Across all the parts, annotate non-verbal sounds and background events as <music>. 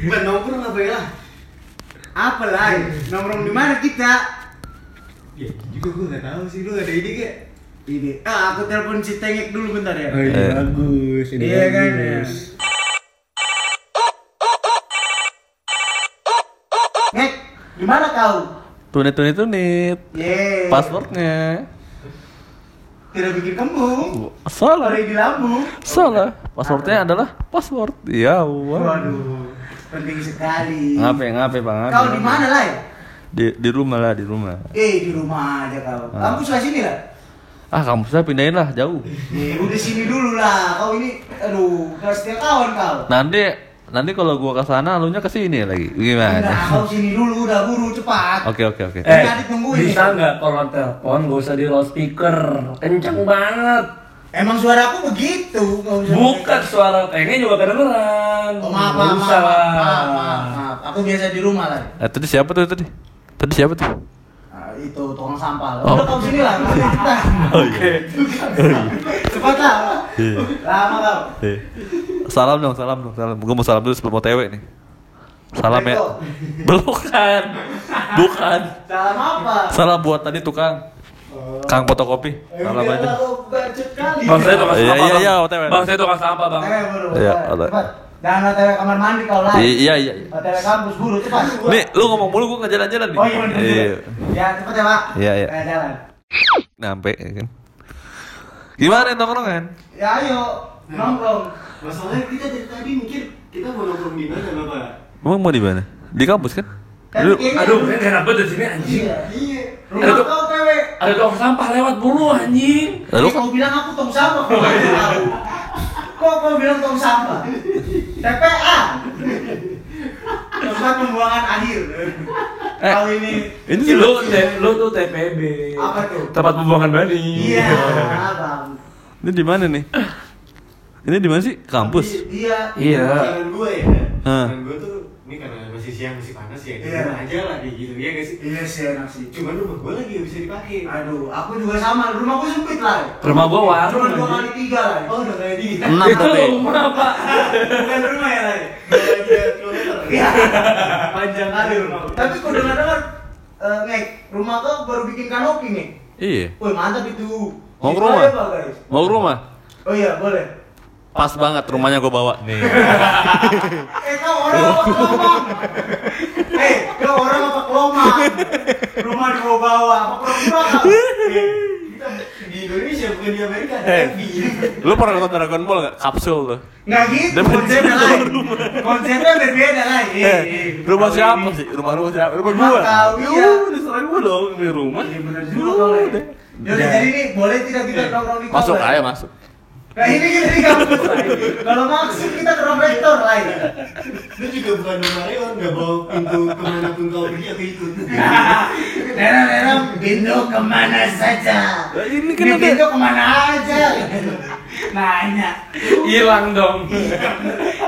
Bukan nongkrong apa ya? Apa lah? Nongkrong di mana kita? Ya juga gue nggak tahu sih lu ada ide gak? Ide. Ah aku telepon si Tengek dulu bentar ya. Oh, ini Eh. bagus, ini Iya kan, bagus. Ngek, di mana kau? tunit tunit tunit Ye. passwordnya Tidak bikin kembung. salah Hari di lambung. salah passwordnya adalah password ya Allah Waduh, penting sekali. ya. ngapain ngapain bang ngapain, Kau di ngapain. mana lah? di di rumah lah di rumah Eh di rumah aja kau. Ah. Kampus lah sini lah. ah kamu saya pindahin lah jauh Eh, udah sini dulu lah. Kau ini, aduh, gak setia kawan kau. nanti nanti kalau gua ke sana lu nya ke sini lagi Udah, gimana kau sini dulu, udah buru, cepat. oke oke oke Eh, Tadi tungguin. bisa nggak kalau telepon gak usah di loudspeaker? Kenceng banget. Emang suara aku begitu. nggak usah Bukan suara pengen juga kedengeran. Oh, maaf, maaf, Nggak maaf, usah lah. maaf, maaf, maaf, maaf. Aku biasa di rumah lah. eh tadi siapa tuh tadi tadi siapa tuh Ah, itu tukang sampah. lah. <laughs> Oh. Udah kau sini lah. nanti kita. oh iya Cepat lah. Iya. Lama kau. Eh. salam dong salam dong salam gua mau salam dulu sebelum otw nih salam ya Beko. bukan bukan Salam apa? salam buat tadi tukang kang fotokopi Eh, salam udah aja lah, kau bacot kali. Bang saya tukang Iya, sampah. iya, Bang. iya, OTW. Bang saya tukang sampah bang. Eh, buru, Iya, cepat, ada. cepat. Jangan otw kamar mandi kau lah. I- iya iya iya. Otw kampus buru cepat. nih lu ngomong mulu gua nggak jalan-jalan nih Oh iya bener juga. Ya cepet ya pak. Iya, iya. Eh, jalan. nampe ya kan gimana nongkrongan Ya ayo nongkrong. Masalahnya kita dari tadi mikir kita mau nongkrong di mana bapak? emang mau di mana di kampus kan Tapi lu kayaknya- Aduh, saya nggak dapet di sini anjing. Iya. Iya. Rumah Aduh. kau PW. Ada tukang sampah lewat buru anjing. Eh, lu Kok kau bilang aku tong sampah? Oh, Kok kau iya. tahu? Kok kau bilang tong sampah? TPA. Tempat pembuangan akhir. Eh, Kau ini. ini Ini lu, te- lu tuh TPB. Apa tuh? Tempat pembuangan bani. <laughs> Iya, abang. ini di mana nih ini di mana sih kampus Iya. Iya. Kanan gue ya. Hah. Kanan gue tuh ini karena masih siang masih panas ya. Iya. Iya. aja lah di gitu ya gak sih? Iya sih enak sih. Cuman rumah gue lagi gak bisa dipakai. Aduh, aku juga sama. Rumah gua sempit lah. Rumah gua Cuma dua warung. anjing. kali tiga lah. Oh udah kayak di. enam Itu berarti rumah pak. <laughs> Bukan rumah ya lah. Tiga kilometer. Iya. Panjang kali rumah. gua. Tapi kau dengar dengar, Nek, rumah kau baru bikin kanopi nih. iya Woi mantap itu. Mau Kita ke Oh, rumah? ya, Pak, guys? mau ke rumah Oh iya boleh. pas banget rumahnya gua bawa nih Eh kau orang apa <laughs> kelomang? Eh kau orang apa kelomang? Rumah di bawah bawa apa pura-pura kau? <laughs> Kita di Indonesia bukan di Amerika. Eh. Tapi lu pernah nonton Dragon Ball nggak kapsul lu Nggak gitu Dapat konsepnya di lain. rumah. Konsepnya berbeda lain. Eh, eh, eh rumah kau siapa ini- sih rumah rumah siapa rumah Rumah gua kau, iya. Yuh, diserang gua dong di rumah Iya benar juga kau Nek. Udah. Yaudah jadi nih boleh tidak kita nongkrong di kamar? masuk aja masuk Nah ini kita di kampus Lai. Kalau maksud kita ke ruang rektor lain. lu juga bukan rumah Reon gak bawa pintu kemanapun kau pergi aku ikut. Daerah-daerah Bindo kemana saja. Lah, ini kan Di ada- Bindo kemana aja. Nah, Nanya. Hilang dong. Iya.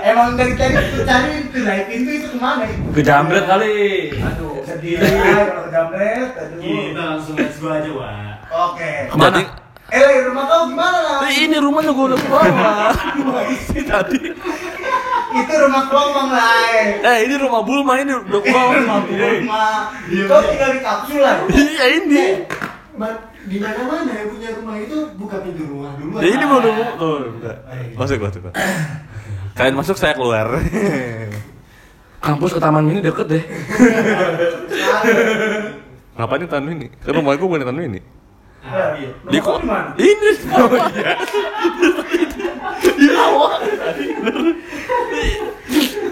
Emang dari tadi kita cari itu naik pintu itu kemana itu? Kejamret kali. Aduh sedih lah kalau jamret. Kita Aduh. langsung let's go aja wah. Oke. Mana? Nah, Eh, Lai, rumah kau gimana lah? ini rumahnya gua udah bawa tadi Itu rumah kelomang lah. eh ini rumah Bulma ini udah gua bawa Rumah rumah. Kau tinggal di kapsul lah. iya ini Ma- di mana mana yang punya rumah itu buka pintu rumah dulu ya ini mau nunggu oh, udah. masuk masuk masuk. kalian masuk saya keluar Kampus ke Taman Mini deket deh. ngapain nih tandu ini kan rumah gua bukan di tandu ini Nah, Ah, iya. di Rumah kau kok di mana? ini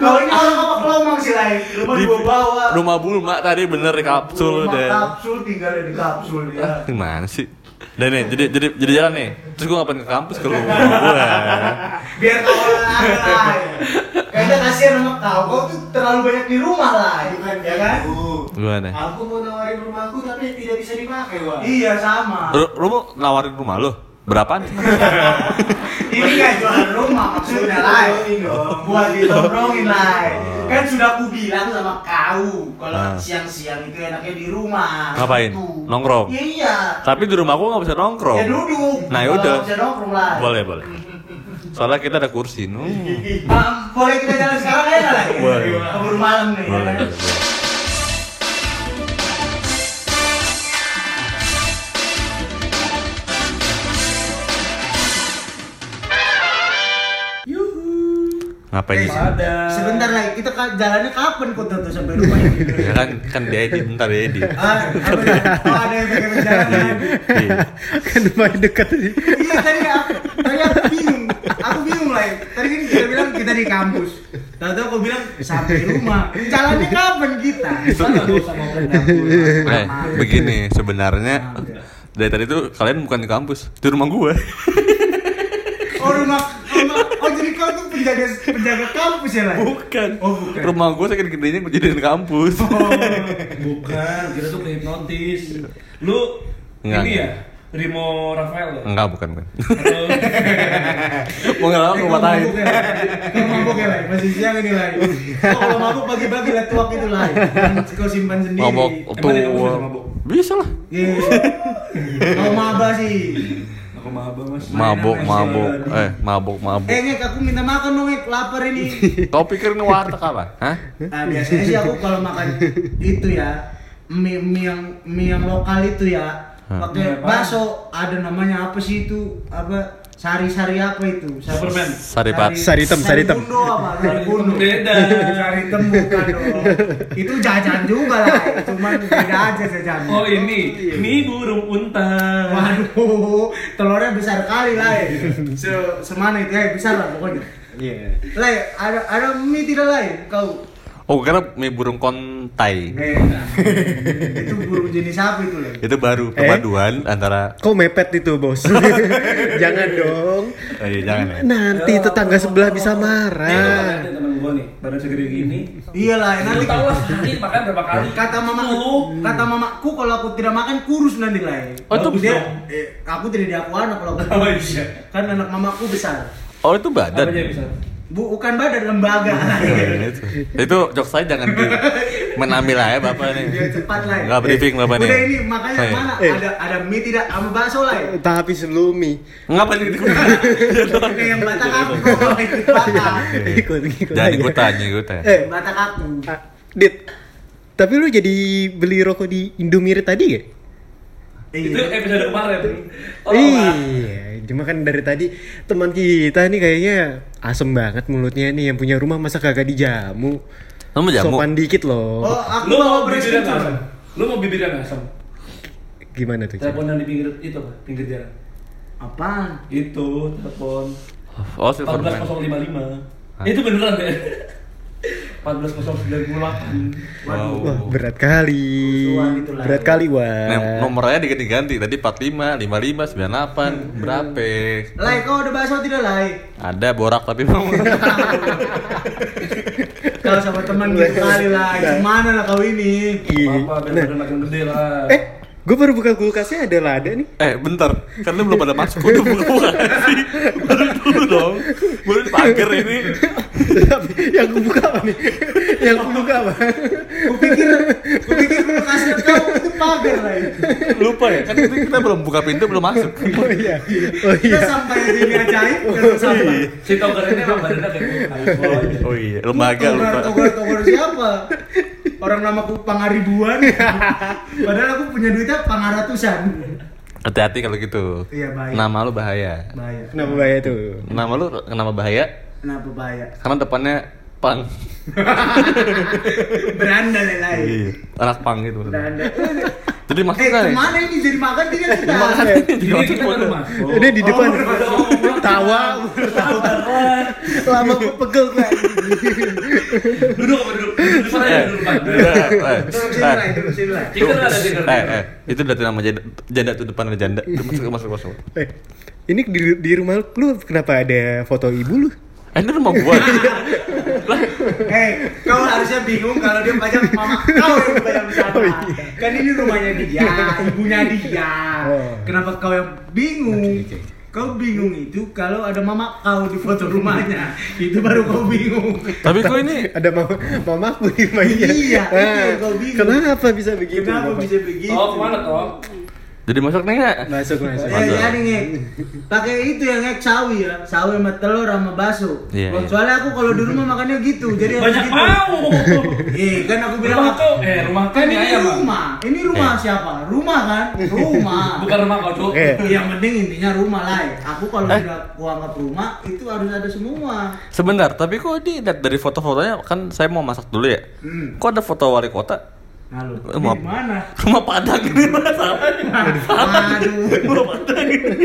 Kalau ini orang apa kelomang sih lain? Rumah di bawah. rumah Bulma tadi bener di kapsul Rumah deh Kapsul tinggal di kapsul ya. Gimana sih? Dan nih, jadi jadi jadi jalan nih. Terus gua ngapain ke kampus kalau gua. Biar kau olahraga lah. Kayaknya kasihan sama kau. Kau tuh terlalu banyak di rumah lah, bukan ya kan? Gimana? aku mau nawarin rumahku tapi tidak bisa dipakai wah Iya sama. Lu, lu mau nawarin rumah lu? Berapaan? Ini nggak jualan rumah maksudnya lah. Iya. Buat ditodongin lah. Kan sudah aku bilang sama kau Ah. kalau siang-siang itu enaknya di rumah. Ngapain? Gitu. Nongkrong? Iya. Tapi di rumah gua nggak bisa nongkrong. Ya duduk. Nah, Kalau yaudah. Bisa nongkrong lah. Boleh, boleh. Soalnya kita ada kursi. No. Ah, boleh kita jalan sekarang ya lah. Boleh. Keburu malam nih. ya kan? Ngapain di sini? Ada. Sebentar lagi kita ka- jalannya kapan kok tuh sampai rumah ini? Ya kan kan dia edit bentar dia edit. Ah, apa ya? oh, ada yang pengen jalan. Iya. kan lumayan dekat tadi Iya tadi aku, tadi aku bingung, aku bingung lah. Tadi kan kita bilang kita di kampus. Tahu-tahu aku bilang sampai rumah. Jalannya kapan kita? Kita nggak Iya. usah ngomong dapur. Eh, begini sebenarnya dari tadi tuh kalian bukan di kampus, di rumah gua. Oh rumah, rumah. Oh jadi kau tuh penjaga penjaga kampus ya lah. Bukan. Oh, bukan. Oh. Rumah gua sakit gedenya gua jadiin kampus. Bukan, kita tuh kehipnotis. Lu Enggak, ini enggak. ya? Rimo Rafael ya? Enggak, bukan, bukan. Atau Mau ngelawan Eh, gua patahin. Kau mabuk ya lah. Masih siang ini lah. Oh, kalau mabuk bagi-bagi lah tuak itu lah. Jangan Kau simpan sendiri. Mabok Emang di kampus tua. bisa mabok? Bisa lah. Iya. Mau maba sih. aku maba mas. Mabok, Mainan mabok. aja. Eh, mabok, mabok. Eh, Ngek, aku minta makan dong, Ngek. Lapar ini. Kau pikir ini warteg apa? Hah? Nah, biasanya sih aku kalau makan itu ya mie, mie yang mie yang lokal itu ya Hah. Mie pakai apa? bakso ada namanya apa sih itu apa sari-sari apa itu sari, Superman. Sari pat. Sari hitam, sari hitam. bundo apa sari bundo Beda. sari hitam bukan dong itu jajan juga lah cuman beda aja jajan Oh ini, ini burung unta. waduh telurnya besar kali lah ya. se semana itu ya besar lah pokoknya iya lah ya, ada ada mie tidak lah kau Oh, karena mie burung kontai. eh, itu burung jenis apa itu lah Itu baru perpaduan antara kok mepet itu bos jangan dong eh, jangan ya. nanti tetangga sebelah bisa marah Ini temen Iya, gua nih, badan segede gini. iyalah Lu nanti tau lah sehari makan berapa kali? kata mama Lu. kata mamaku kalau aku tidak makan kurus nanti lah Oh, itu dia, dong. eh, aku tidak diaku anak kalau aku Oh, kurus iya. kan anak mamaku besar Oh, itu Apa badan. aja bisa? bu bukan badan <laughs> lembaga Iya, itu. itu jok saya jangan di menambil lah ya bapak nih dia Iya, cepat lah ya. nggak briefing bapak nih Iya. udah ini makanya Saya. mana Eh. ada ada mie tidak sama bakso lah Iya. tapi sebelum mie nggak gitu. apa <laughs> ikut ini yang batak Iya. aku <laughs> kalau itu batak ikut ikut jangan aja. ikutan ikutan eh batak aku ah, dit tapi lu jadi beli rokok di Indomiri tadi ya? gak? Itu iya episode kemarin. Oh, Iya, cuma kan dari tadi teman kita nih kayaknya asem banget mulutnya nih yang punya rumah masa kagak dijamu. kamu jamu Sopan dikit loh. oh aku Eh. Lu bawa mau beras bibir yang kencur asam? Lu mau bibir yang asam? Gimana tuh? Cak? Telepon yang di pinggir itu, Pak, pinggir jalan. apaan Itu telepon oh silverman 14055. Itu beneran <laughs> ya? 14098. wow Wah, berat kali. Susuan gitu lah. Berat kali, Nah, wah. nomornya diganti-ganti tadi 45, 55, 98, berapa? Lai, kau ada bakso tidak, Lai? Ada borak tapi <laughs> mau. Kalau sama teman Nah. gitu kali, Lai. Gimana lah kau ini? Iya. Apa biar Nah, badan makin gede lah. eh, gue baru buka kulkasnya ada lada nih. <laughs> eh bentar, kan lu belum pada masuk udah buka buka sih. Baru dulu dong, baru pagar ini. yang gue buka apa nih? yang gue buka apa? Gue pikir, gue pikir gue kasih kau itu pagar lah ya. Lupa ya, kan itu kita belum buka pintu belum masuk. oh iya. Kita Oh iya. Oh, sampai di dunia ajaib, kita sampai. Si Togar ini emang badannya kayak gua. Oh iya, lembaga Togor, lupa. togor, togor siapa? Orang namaku pangaribuan. Padahal aku punya duitnya pangaratusan. Hati-hati kalau gitu. Iya, baik. Nama lu bahaya. Bahaya. Kenapa bahaya tuh? Nama lu kenapa bahaya? Kenapa bahaya? Karena depannya pang. Beranda nih, Lai. Iya. Anak pang gitu. Beranda. Jadi masuk Iya, Eh, kan? ya? kemana ini jadi makan tidak kita? Jadi kita baru masuk. Ini di depan. Oh, Udah ngomong Tawa. Tawa. Lama gue pegel gue. Duduk apa duduk? Duduk sana ya, Eh, duduk Pak. eh, Duduk sini, eh, Lai. Duduk sini, Lai. Kita nggak ada di eh, eh, itu berarti nama janda, janda tuh depan ada janda. Tuh, Masuk, masuk, masuk. Eh, ini di, di rumah lu kenapa ada foto ibu lu? Eh, ini rumah gua. Hei, Eh, kau harusnya bingung kalau dia pajak mama kau yang bayar Oh, di sana. iya. Kan ini rumahnya dia, ibunya dia. Oh. Kenapa kau yang bingung? Oke, oke. Kau bingung itu kalau ada mama kau di foto rumahnya. Itu baru kau bingung. Tapi kok ini Ada mama mamaku di rumah Iya, dia. itu yang Ah, gua bingung. Kenapa bisa begitu? Kenapa Bapak? bisa begitu? Oh, kemana toh? Jadi masuk nih nggak? Masuk masuk. Mantap. Ya, jadi nih pakai itu yang ek sawi ya, sawi sama telur sama baso. Iya, iya. Soalnya aku kalau di rumah makannya gitu, jadi harus Banyak gitu. mau. Iya, kan aku bilang Rumah tuh, eh rumah tuh kan ini ayam. Bang. rumah, ini Iya. rumah siapa? Rumah kan, rumah. Bukan rumah kau tuh. Oke. Yang penting intinya rumah lah. ya. Aku kalau Eh. udah aku anggap rumah itu harus ada semua. Sebentar, tapi kok dilihat dari foto-fotonya kan saya mau masak dulu ya. Hmm. Kok ada foto wali kota? Nah, lu Eh, maaf. di mana? Rumah Padang ini masalahnya. Waduh. Rumah Padang ini.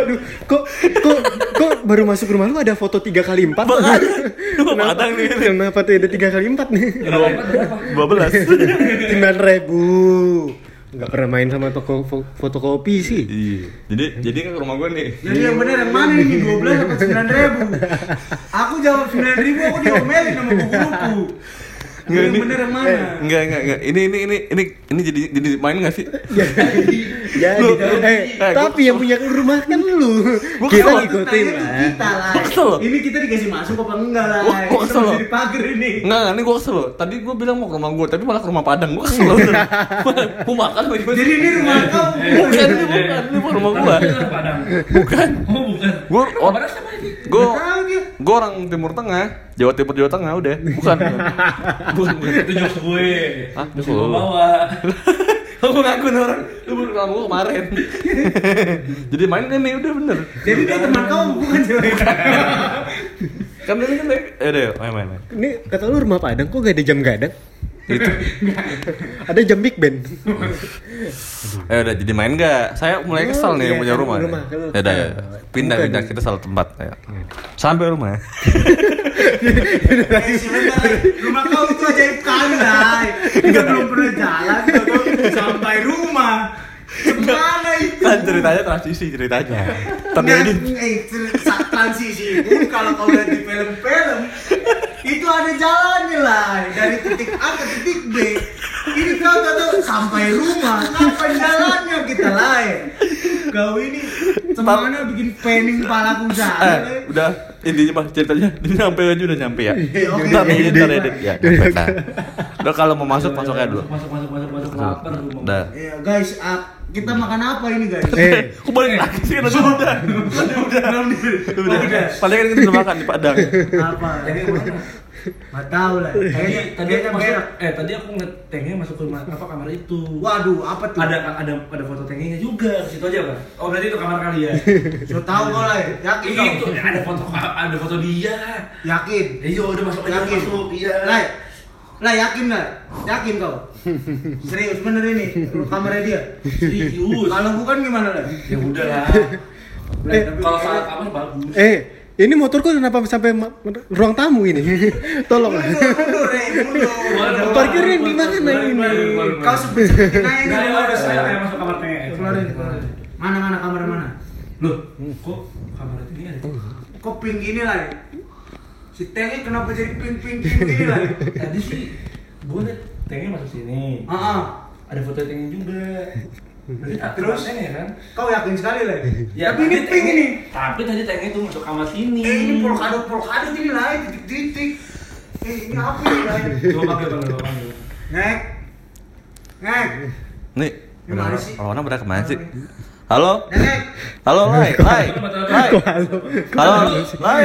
Aduh, kok kok kok baru masuk rumah lu ada foto tiga kali empat? <laughs> Makanya, lu padang nih. Kenapa tuh ada tiga kali empat nih? Dua belas. <laughs> Sembilan ribu. Nggak pernah main sama toko fo- fotokopi sih. Iya. Jadi jadi ke rumah gue nih. Jadi yang bener yang mana ini 12 apa 9 ribu? Aku jawab 9 ribu, aku diomelin sama guru-guruku. Jadi yang ini- Eh, bener yang mana? Enggak, enggak, enggak. Ini ini ini ini ini jadi jadi main enggak sih? Ya, Lu- gitu. lu- eh, eh, tapi yang punya rumah kan lu. Gua Kita kesel. ngikutin Tanya ya. tuh lah. kita lah. Gua kesel. Ini kita dikasih masuk apa enggak lah? Gua- gua Kita kesel. masih dipagar ini. Enggak, enggak, ini gue kesel loh. Tadi gue bilang mau ke rumah gue, tapi malah ke rumah Padang. Gue kesel loh. Mau makan apa gimana? Jadi ini rumah kau. bukan, ini bukan, ini bukan rumah gue. Padang. Bukan. Oh, bukan. Gue Rumah Padang siapa ini? gue Tahu dia. gue orang Timur Tengah, Jawa Timur Jawa Tengah udah. Bukan. Bukan. bukan. Itu jokes gue. Hah, jokes Gue lu? bawa. Aku ngaku nih orang. Lu baru kenal gue kemarin. <laughs> Jadi main kan nih udah bener. Jadi dia teman kau bukan cewek. Kan ini kan eh deh, main main. main. Ini kata lu rumah Padang kok gak ada jam gadang? Itu. Ada jam Big Band. Eh udah jadi main gak? Saya mulai kesal nih Iya, yang punya kan, rumah. rumah, kan. Ya udah ya. Pindah Bukan. pindah kita salah tempat ya. Sampai rumah. Eh, sebentar, Lai. rumah kau itu ajaib kali lah. Kita belum pernah jalan, kita belum sampai rumah. Kemana itu? <laughs> Kan ceritanya transisi ceritanya. Terjadi. Terjadi Eh, cer- sa- transisi itu kalau kau lihat di film-film itu ada jalannya lah dari titik A ke titik B. Ini kau tak tahu sampai rumah, kapan jalannya kita lain. Kau ini semuanya bikin pening palaku Eh, sana. Lai. udah intinya mah ceritanya ini nyampe aja udah nyampe ya. oke. Bentar, Iya, ini iya, ntar edit ya. nyampe, nah. Udah kalau mau masuk Iya, masuk aja dulu. Masuk masuk masuk masuk lapar rumah. Udah. Ya guys, ah, kita makan apa ini guys? Eh, Aku balik lagi sih kan udah. Udah. Udah. Udah. Paling kan kita udah makan di Padang. apa tadi nggak tahu lah Tadi kayaknya tadi tadi aku kayak masuk, eh tadi aku ngeliat tanknya masuk ke rumah- apa kamar itu. waduh apa tuh Ada ada ada foto tanknya juga. Situ aja kan. Oh berarti itu kamar <laughs> kalian. so tahu kau lah ya? yakin Iya kau itu ada foto ada foto dia. yakin Iya udah masuk aja yakin masuk. Iya. Nah. lah lah yakin lah yakin kau serius bener ini kamarnya dia Serius. kalau bukan gimana lah Ya udah lah. <laughs> Lah, tapi Kalau kayak- salah kamar bagus. eh, ini motor kok kenapa sampai ma- ruang tamu ini? <laughs> Tolonglah. mundur eh, mundur Parkirnya di mana ini? kau sebut sebutin aja ini Nah, ya rumah udah ada saya saya kayak masuk kamar tengah. keluarin keluarin mana mana kamar mana Loh, kok kamar ini ada? kok pink gini lah ya? si tengnya kenapa jadi pink pink pink gini lah ya? Tadi sih gua liat tanknya masuk sini. ah ah. Ada foto tanknya juga. Berarti tak Terus? tanknya ya kan? kau yakin sekali lah ya? Ya, tapi ini tadi pink ini tanknya- Tapi tadi tanknya itu masuk kamar sini. Eh ini polkadot polkadot ini lah, titik titik. Eh ini apa ini lah? Coba pakai bang, coba pakai. Nek, nek, Nih. Gimana sih? Orang orang pada kemana sih? Iya. Halo? nek. Halo, Lai, Lai, Lai. Halo, Lai.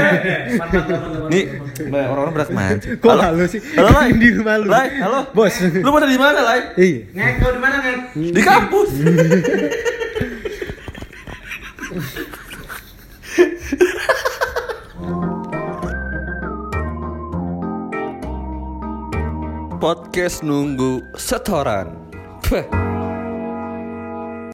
Nih, orang-orang pada kemana sih? Kok halo sih? Halo, Lai. <laughs> Di rumah lu. Lai, halo. Bos. Lu pada di mana, Lai? Iya. Nek kau di mana nek? Di kampus. Podcast nunggu setoran. Peh.